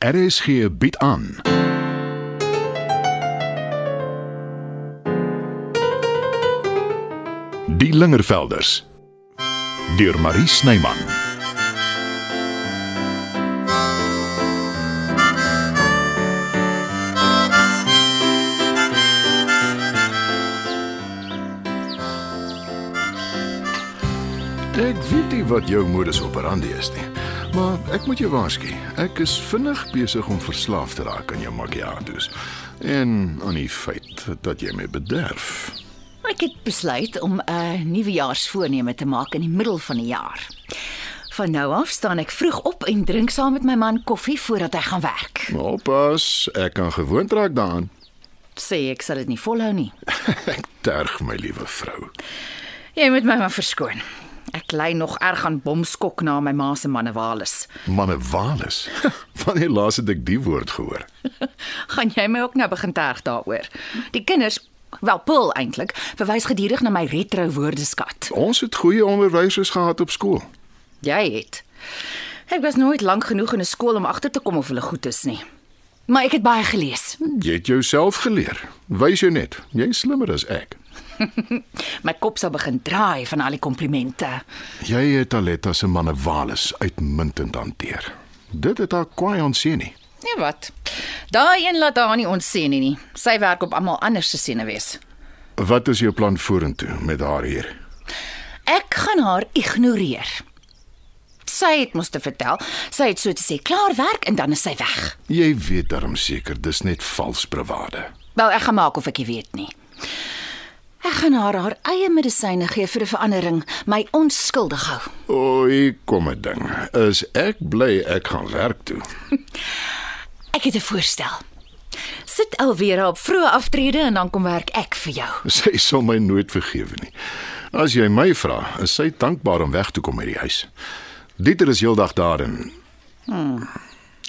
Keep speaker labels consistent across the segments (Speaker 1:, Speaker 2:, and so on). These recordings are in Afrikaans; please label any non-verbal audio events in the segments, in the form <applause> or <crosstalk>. Speaker 1: RSG bied aan. Die Lingervelders deur Marie Snyman.
Speaker 2: Ek weet nie wat jou modus operandi is nie, maar ek moet jou waarsku. Ek is vinnig besig om verslaaf te raak aan jou macchiatos en aan die feit dat jy my bederf.
Speaker 3: Ek het besluit om 'n nuwejaarsvoorneme te maak in die middel van die jaar. Van nou af staan ek vroeg op en drink saam met my man koffie voordat hy gaan werk.
Speaker 2: Maar oppas, ek kan gewoond raak daaraan.
Speaker 3: Sê ek sal dit nie volhou nie.
Speaker 2: ek terg my liewe vrou.
Speaker 3: Jy moet my maar verskoon. Ek lei nog erg aan bomskok na my ma se manewales.
Speaker 2: <laughs> Manewales. Wanneer laas het ek die woord gehoor?
Speaker 3: <laughs> Gaan jy my ook nou begin terg daaroor? Die kinders, wel Paul eintlik, verwys gedurig na my retro woordeskat.
Speaker 2: Ons het goeie onderwysers gehad op skool.
Speaker 3: Jy het. Ek was nooit lank genoeg in 'n skool om agter te kom of hulle goed is nie. Maar ek het baie gelees.
Speaker 2: Jy het jouself geleer. Wys jou net, jy's slimmer as ek.
Speaker 3: My kop sal begin draai van al die komplimente.
Speaker 2: Jy het Aletta se manewales uitmuntend hanteer. Dit het haar kwaai ontsien nie.
Speaker 3: Nee wat. Daai een laat haar nie ons sien nie, nie. Sy werk op almal anders se senuwees.
Speaker 2: Wat is jou plan vorentoe met haar hier?
Speaker 3: Ek gaan haar ignoreer. Sy het mos te vertel. Sy het so te sê klaar werk en dan is sy weg.
Speaker 2: Jy weet darm seker dis net vals bravade.
Speaker 3: Wel, ek gaan maak of ek dit weet nie. Ek gaan haar haar eie medisyne gee vir 'n verandering, my onskuldig hou.
Speaker 2: O, hier kom 'n ding. Is ek bly ek gaan werk toe.
Speaker 3: Ek het 'n voorstel. Sit alweer op vroeë aftrede en dan kom werk ek vir jou.
Speaker 2: Sy sal my nooit vergewe nie. As jy my vra, is sy dankbaar om weg te kom uit die huis. Dieter is heeldag daar en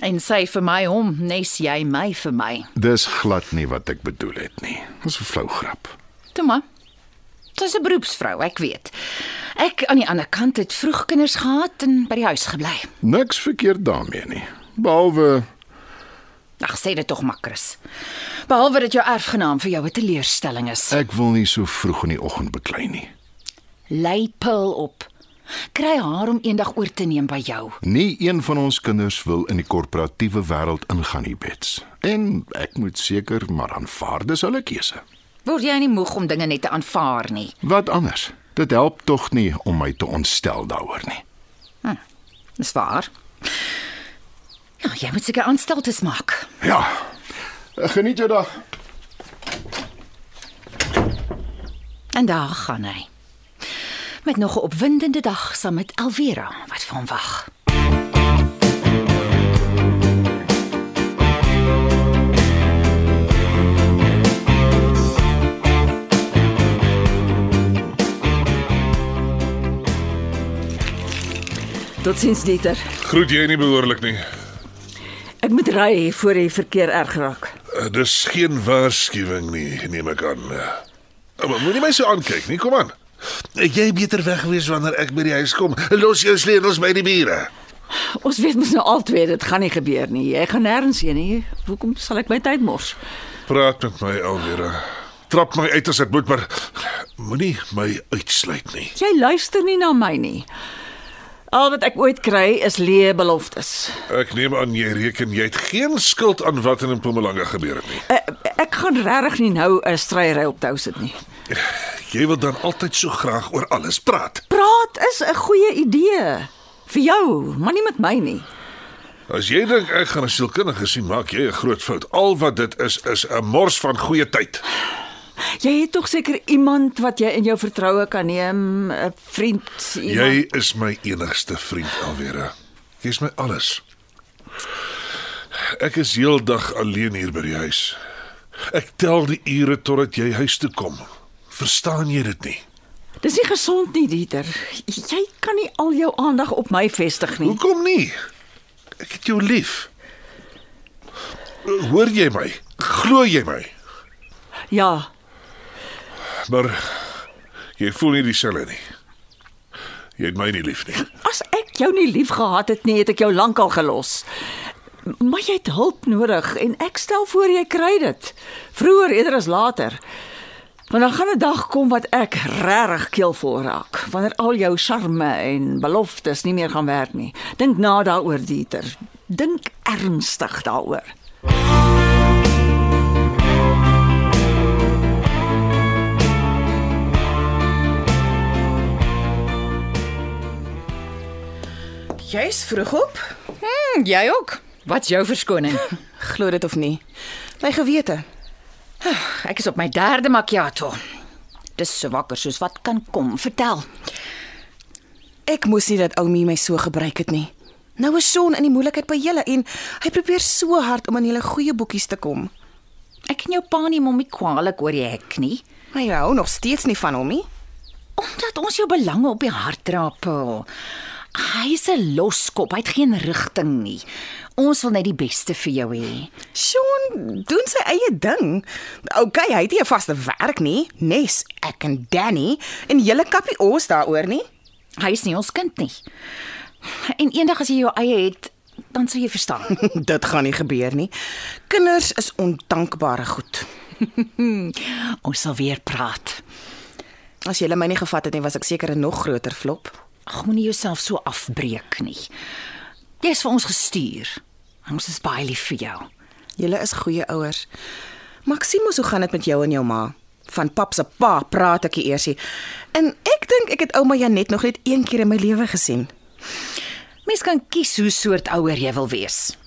Speaker 3: En sy vir my hom, nes jy my vir my.
Speaker 2: dis glad nie wat ek bedoel het nie. Dis 'n flou grap.
Speaker 3: Toe maar. Sy's 'n beroepsvrou, ek weet. Ek aan die ander kant het vroeg kinders gehad en by die huis gebly.
Speaker 2: Niks verkeerd daarmee nie. Behalwe
Speaker 3: Ag, sê dit tog maar, Chris. Behalwe dat jou erfgenaam vir jou 'n teleurstelling is.
Speaker 2: ek wil nie so vroeg in die oggend beklei nie.
Speaker 3: Lei pil op. Kry haar om eendag oor te neem by jou.
Speaker 2: Nie een van ons kinders wil in die korporatiewe wêreld ingaan nie, Bets. En ek moet seker maar aanvaar dis hulle keuse.
Speaker 3: Word jy nie moeg om dinge net te aanvaar nie.
Speaker 2: Wat anders? Dit help tog nie om my te ontstel daaroor nie.
Speaker 3: Dis waar. Ja, jy moet seker aanstaltes maak.
Speaker 2: Ja. Geniet jou dag.
Speaker 3: En daar gaan hy. Met nog 'n opwindende dag saam met Elvira wat vir hom wag.
Speaker 4: Totsiens Dieter.
Speaker 5: Groet jy nie behoorlik nie.
Speaker 4: Ek moet ry voor die verkeer erg raak.
Speaker 5: Eh, Dis geen waarskuwing nie, neem ek aan. Eh, Maar moenie my so aankyk nie, kom aan. Eh, Jy beter weg wees wanneer ek by die huis kom. Los jou sleutels by die bure.
Speaker 4: Ons weet mos nou altyd dit gaan nie gebeur nie. Jy gaan nêrens heen nie. Hoekom sal ek my tyd mors?
Speaker 5: Praat met my alweer. Trap my uit as dit moet, maar moenie my uitsluit nie.
Speaker 4: Jy luister nie na my nie. Al wat ek ooit kry is leë beloftes.
Speaker 5: Ek neem aan jy reken jy het geen skuld aan wat in Mpumalanga gebeur het nie.
Speaker 4: Ek, Eh, ek gaan regtig nie nou 'n stryery op tou sit nie.
Speaker 5: Jy wil dan altyd so graag oor alles praat.
Speaker 4: Praat is 'n goeie idee vir jou, maar nie met my nie.
Speaker 5: As jy dink ek gaan 'n sielkundige sien, maak jy 'n groot fout. Al wat dit is is 'n mors van goeie tyd.
Speaker 4: Jy het tog seker iemand wat jy in jou vertroue kan neem, 'n vriend, iemand.
Speaker 5: Jy is my enigste vriend alweer. Jy's my alles. Ek is heeldag alleen hier by die huis. Ek tel die ure totdat jy huis toe kom. Verstaan jy dit nie?
Speaker 4: Dis nie gesond nie, Dieter. Jy kan nie al jou aandag op my vestig nie.
Speaker 5: Hoekom nie? Ek het jou lief. Hoor jy my? Glo jy my?
Speaker 4: Ja,
Speaker 5: Maar jy voel nie dieselfde nie. Jy het my nie lief nie.
Speaker 4: as ek jou nie liefgehad het nie, het ek jou lankal gelos. maar jy het hulp nodig en ek stel voor jy kry dit. Vroeër eerder as later. Want dan gaan 'n dag kom wat ek regtig keelvol raak, wanneer al jou charme en beloftes nie meer gaan werk nie. Dink na daaroor, Dieter. Dink ernstig daaroor.
Speaker 6: Jy's vroeg op.
Speaker 3: Hm, jy ook. Wat's jou verskoning?
Speaker 6: Glo dit of nie. My gewete.
Speaker 3: Ek is op my derde macchiato. Dis so wakker soos wat kan kom. Vertel.
Speaker 6: Ek moes nie dat Oumi my so gebruik het nie. Nou is Sean in die moeilikheid by julle en hy probeer so hard om aan julle goeie boekies te kom.
Speaker 3: Ek en jou pa nie mommie kwaalik oor die hek nie,
Speaker 6: Maar jy hou nog steeds nie van hom nie.
Speaker 3: omdat ons jou belange op die hart dra, Paul. Hy is 'n loskop, hy het geen rigting nie. Ons wil net die beste vir jou hê.
Speaker 6: Sean doen sy eie ding. Okay, hy het nie 'n vaste werk nie. Nes, ek en Danny en julle kappie ons daaroor nie. <laughs>
Speaker 3: Hy is nie ons kind nie. En eendag as jy jou eie het, dan sal jy verstaan.
Speaker 6: Dit gaan nie gebeur nie. Kinders is ondankbare goed.
Speaker 3: <laughs> ons sal weer praat.
Speaker 6: As jy my nie gevat het nie, was ek seker 'n nog groter flop.
Speaker 3: Ag, moenie jouself so afbreek nie. Jy's vir ons gestuur. Ons is baie lief vir jou.
Speaker 6: Julle is goeie ouers. Maximus, hoe gaan dit met jou en jou ma? Van pap se pa praat ek nie eers nie. En ek dink ek het ouma Janet nog net een keer in my lewe gesien.
Speaker 3: Mens kan kies hoe soort ouer jy wil wees.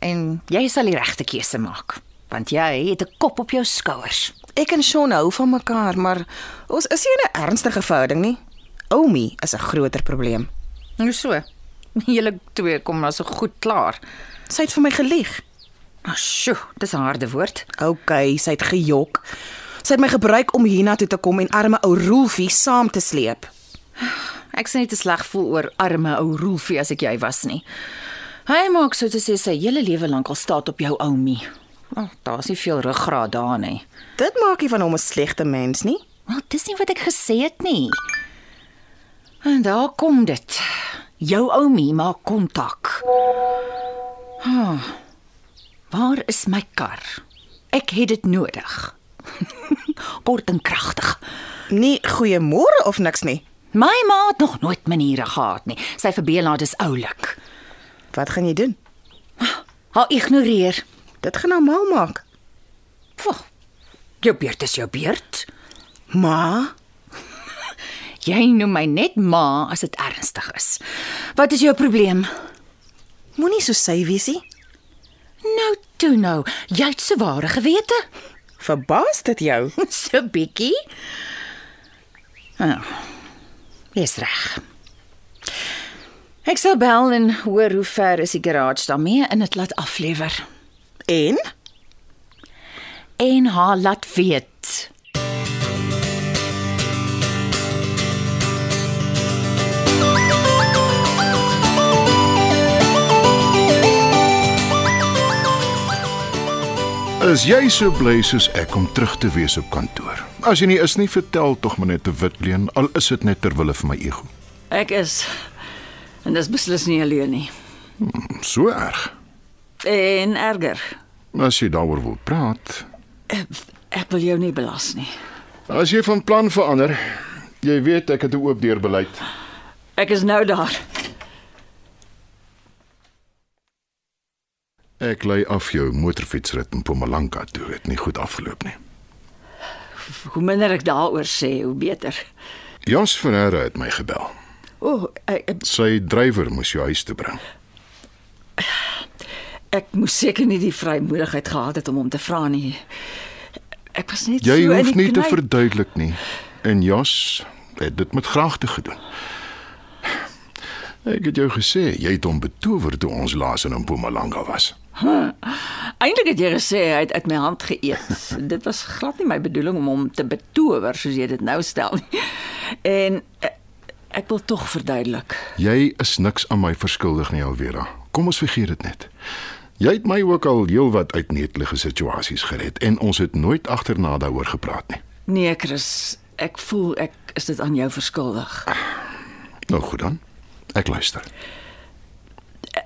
Speaker 3: En jy sal die regte keuse maak, want jy het 'n kop op jou skouers.
Speaker 6: Ek en Sean hou van mekaar, maar ons is nie in 'n ernstige verhouding nie. Oumi is 'n groter probleem.
Speaker 3: Nou so. <laughs> Julle twee kom maar so goed klaar.
Speaker 6: Sy het vir my gelieg.
Speaker 3: Nou sjoe, dis 'n harde woord.
Speaker 6: Okay, sy het gejok. Sy het my gebruik om hiernatoe te kom en arme ou Rolfie saam te sleep.
Speaker 3: Ek sien net te sleg voel oor arme ou Rolfie as ek jy was nie. Hy maak so te sê sy hele lewe lank al staat op jou oumie. Oh, Daar's nie veel ruggraat daar nie.
Speaker 6: Dit maak nie van hom 'n slegte mens nie.
Speaker 3: Wel, dis nie wat ek gesê het nie. En daar kom dit. Jou oumie maak kontak. Ah, waar is my kar? Ek het dit nodig. <laughs> Kort en kragtig.
Speaker 6: Nie goeiemôre of niks nie.
Speaker 3: My ma het nog nooit maniere gehad nie. Sy verbeelaat is oulik.
Speaker 6: Wat gaan jy doen?
Speaker 3: Haar ignoreer.
Speaker 6: Dit gaan haar mal maak.
Speaker 3: Pff, jou beurt is jou beurt.
Speaker 6: Ma,
Speaker 3: Jy noem my net ma as dit ernstig is. Wat is jou probleem?
Speaker 6: moenie so sy wees nie.
Speaker 3: Nou toe nou, jy het se ware gewete. <laughs>
Speaker 6: Verbaas dit jou?
Speaker 3: so bietjie. Ah. Dis reg. Ek sal bel en hoor hoe ver is die garage daarmee en dit laat aflewer
Speaker 6: En
Speaker 3: en haar laat weet.
Speaker 2: Is jy so bly soos ek om terug te wees op kantoor? As jy nie is nie, vertel tog maar net te Witleen, al is dit net ter wille van my ego.
Speaker 4: Ek is en dis beslis nie alleen nie.
Speaker 2: So erg.
Speaker 4: En erger,
Speaker 2: As jy daaroor wil praat,
Speaker 4: ek wil jou nie belas nie.
Speaker 2: as jy van plan verander, jy weet ek het 'n oop deur beleid.
Speaker 4: Ek is nou daar.
Speaker 2: Ek lei af jou motorfietsrit in Mpumalanga toe, het nie goed afgeloop nie.
Speaker 4: Hoe minder ek daaroor sê, hoe beter.
Speaker 2: Jos Ferreira het my gebel.
Speaker 4: O, oh, ek,
Speaker 2: Sy drywer moes jou huis toe bring.
Speaker 4: ek moes seker nie die vrymoedigheid gehad het om hom te vra nie. Ek was net
Speaker 2: Jy
Speaker 4: so in
Speaker 2: hoef
Speaker 4: die
Speaker 2: nie te
Speaker 4: knyp.
Speaker 2: verduidelik nie. En Jos het dit met graagte gedoen. Ek het jou gesê jy het hom betower toe ons laas in Mpumalanga was.
Speaker 4: Eintlik het jy gesê hy het uit my hand geëet.
Speaker 2: <laughs>
Speaker 4: dit was glad nie my bedoeling om hom te betower soos jy dit nou stel nie. En ek, ek wil tog verduidelik.
Speaker 2: Jy is niks aan my verskuldig nie, Alvera. Kom ons vergeet dit net. Jy het my ook al heelwat uit netelige situasies gered en ons het nooit agterna daaroor gepraat nie.
Speaker 4: Nee, Chris, ek voel ek is dit aan jou verskuldig.
Speaker 2: Nou goed dan. Ek luister.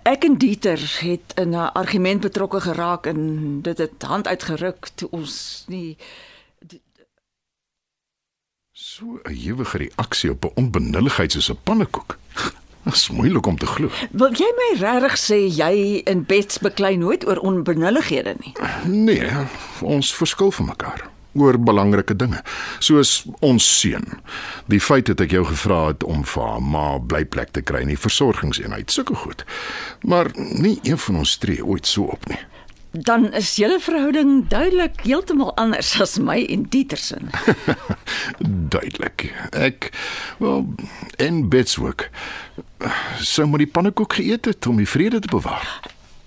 Speaker 4: Ek en Dieter het in 'n argument betrokke geraak en dit het hand uitgeruk toe ons nie
Speaker 2: So 'n ewige reaksie op 'n onbenulligheid soos 'n <laughs> pannekoek. Dis moeilik om te glo.
Speaker 4: Wil jy my regtig sê jy in beds beklei nooit oor onbenullighede nie?
Speaker 2: Nee, ons verskil van mekaar oor belangrike dinge, soos ons seun. Die feit dat ek jou gevra het om vir haar ma blyplek te kry in die versorgingseenheid, sulke goed. Maar nie een van ons tree ooit so op nie. <laughs>
Speaker 4: Dan is julle verhouding duidelik heeltemal anders as my en Dieter se.
Speaker 2: Duidelik. Ek wel en Betswick sou maar die pannekoek geëet het om die vrede te bewaar.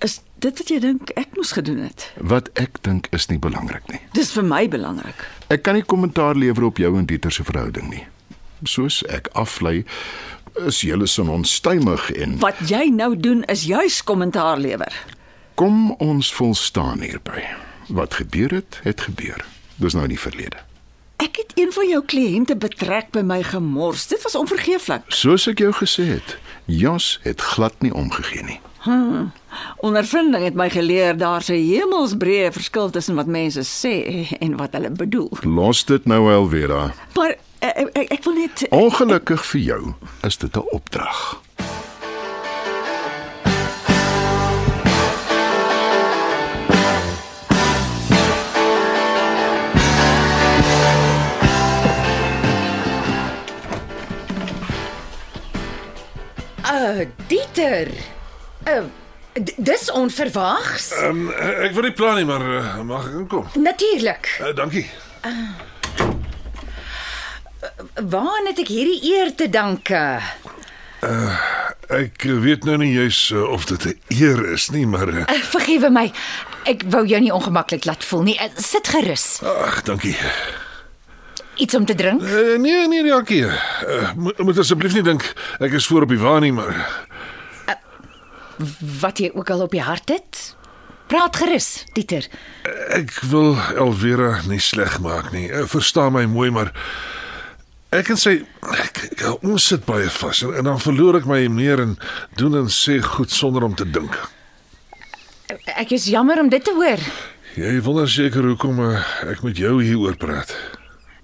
Speaker 4: Is dit wat jy dink ek moes gedoen het?
Speaker 2: Wat ek dink is nie belangrik nie.
Speaker 4: Dis vir my belangrik.
Speaker 2: Ek kan nie kommentaar lewer op jou en Dieter se verhouding nie. Soos ek aflei, is julle son onstuimig en
Speaker 4: Wat jy nou doen is juis kommentaar lewer.
Speaker 2: kom ons volstaan hierby. Wat gebeur het, het gebeur. Dis nou in die verlede.
Speaker 4: Ek het een van jou kliënte betrek by my gemors. Dit was onvergeeflik.
Speaker 2: Soos ek jou gesê het, Jos het glad nie omgegee nie.
Speaker 4: Ondervinding het my geleer daar's 'n hemelsbreë verskil tussen wat mense sê en wat hulle bedoel.
Speaker 2: Los dit nou Elvira.
Speaker 4: Maar ek ek, ek wil net
Speaker 2: Ongelukkig vir jou is dit 'n opdrag.
Speaker 3: Uh, Dieter. Uh, d- dis onverwags.
Speaker 5: Ehm um, ek wil nie plan nie, maar uh, mag ek inkom?
Speaker 3: Natuurlik.
Speaker 5: Uh, dankie.
Speaker 3: Waaraan het ek hierdie eer te danke?
Speaker 5: Ek eh, weet nou nie juis eh, of dit 'n eer is nie, maar eh,
Speaker 3: Uh, vergewe my. Ek wou jou nie ongemaklik laat voel nie. Uh, sit gerus.
Speaker 5: ag, dankie.
Speaker 3: Iets om te drink?
Speaker 5: Uh, nee, nee, dankie. Uh, moet moet asseblief nie dink ek is voor op die waan nie, maar
Speaker 3: Wat jy ook al op die hart het? Praat gerus, Dieter.
Speaker 5: ek wil Elvira nie sleg maak nie. Uh, verstaan my mooi, maar ek en sy ek, ek, ons sit baie vas en, en dan verloor ek my meer en doen en sê goed sonder om te dink.
Speaker 3: Ek is jammer om dit te hoor.
Speaker 5: Jy wonder seker hoekom uh, ek met jou hieroor praat.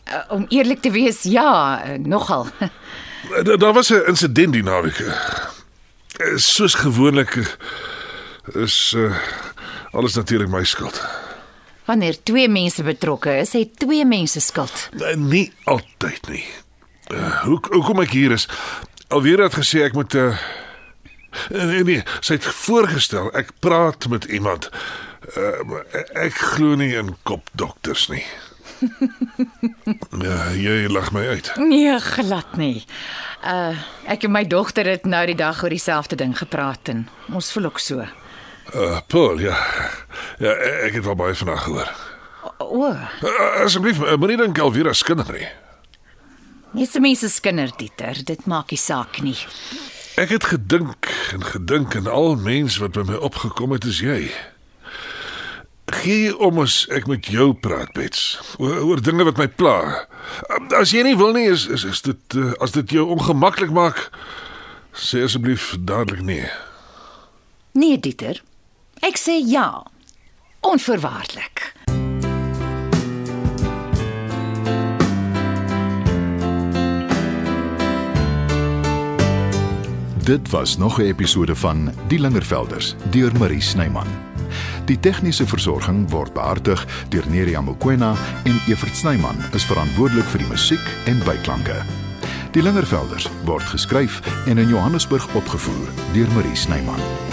Speaker 3: Uh, om eerlik te wees, ja, uh, nogal. <laughs>
Speaker 5: Eh, Da- Daar was 'n insident die naweek. Eh, Soos gewoonlik eh, is uh, alles natuurlik my skuld.
Speaker 3: Wanneer twee mense betrokke is, het twee mense skuld.
Speaker 5: Eh, Nie altyd nie. Uh, hoe hoekom ek hier is? Alweer het gesê ek moet uh, nee, nee, sy het voorgestel ek praat met iemand. Uh, maar ek glo nie in kopdokters nie. <laughs> Ja, jy lag my uit.
Speaker 3: Nee, glad nie. Uh ek en my dogter het nou die dag oor dieselfde ding gepraat en ons voel ook so.
Speaker 5: Uh, Paul, ja. Ja, e- ek het wel baie vanaand gehoor.
Speaker 3: O,
Speaker 5: Uh, Asseblief, uh, moenie dink Elvira se kinders nie.
Speaker 3: jy's 'n mens se kinder, Dieter. Dit maak nie saak nie.
Speaker 5: Ek het gedink en gedink en al mens wat by my opgekom het is jy. Gee jy om as ek met jou praat, Bets, oor, oor dinge wat my pla. Um, As jy nie wil nie is is, is dit uh, as dit jou ongemaklik maak, sê asseblief dadelik nee.
Speaker 3: Nee, Dieter. Ek sê ja. Onverwaarlik.
Speaker 7: Dit was nog 'n episode van Die Lingervelders deur Marie Snyman. Die tegniese versorging word behartig deur Neriya Mkwena en Evert Snyman is verantwoordelik vir die musiek en byklanke. Die Lingervelders word geskryf en in Johannesburg opgevoer deur Marie Snyman.